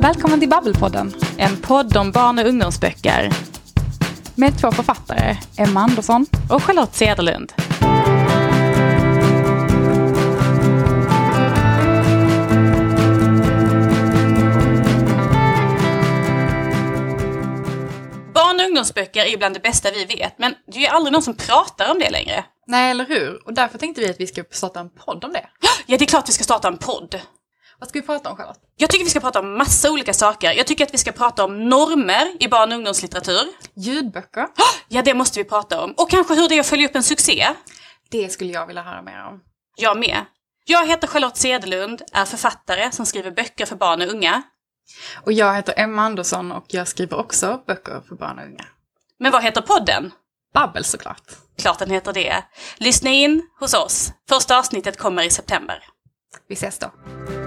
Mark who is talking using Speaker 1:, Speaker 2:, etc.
Speaker 1: Välkommen till Babbelpodden, en podd om barn och ungdomsböcker. Med två författare, Emma Andersson och Charlotte Cederlund. Barn och ungdomsböcker är bland det bästa vi vet, men det är ju aldrig någon som pratar om det längre.
Speaker 2: Nej, eller hur? Och därför tänkte vi att vi ska starta en podd om det.
Speaker 1: Ja, det är klart vi ska starta en podd.
Speaker 2: Vad ska vi prata om Charlotte?
Speaker 1: Jag tycker vi ska prata om massa olika saker. Jag tycker att vi ska prata om normer i barn och ungdomslitteratur.
Speaker 2: Ljudböcker?
Speaker 1: Ja, det måste vi prata om. Och kanske hur det är att följa upp en succé.
Speaker 2: Det skulle jag vilja höra mer om.
Speaker 1: Jag med. Jag heter Charlotte Cederlund, är författare som skriver böcker för barn och unga.
Speaker 2: Och jag heter Emma Andersson och jag skriver också böcker för barn och unga.
Speaker 1: Men vad heter podden?
Speaker 2: Babbel såklart.
Speaker 1: Klart den heter det. Lyssna in hos oss. Första avsnittet kommer i september.
Speaker 2: Vi ses då.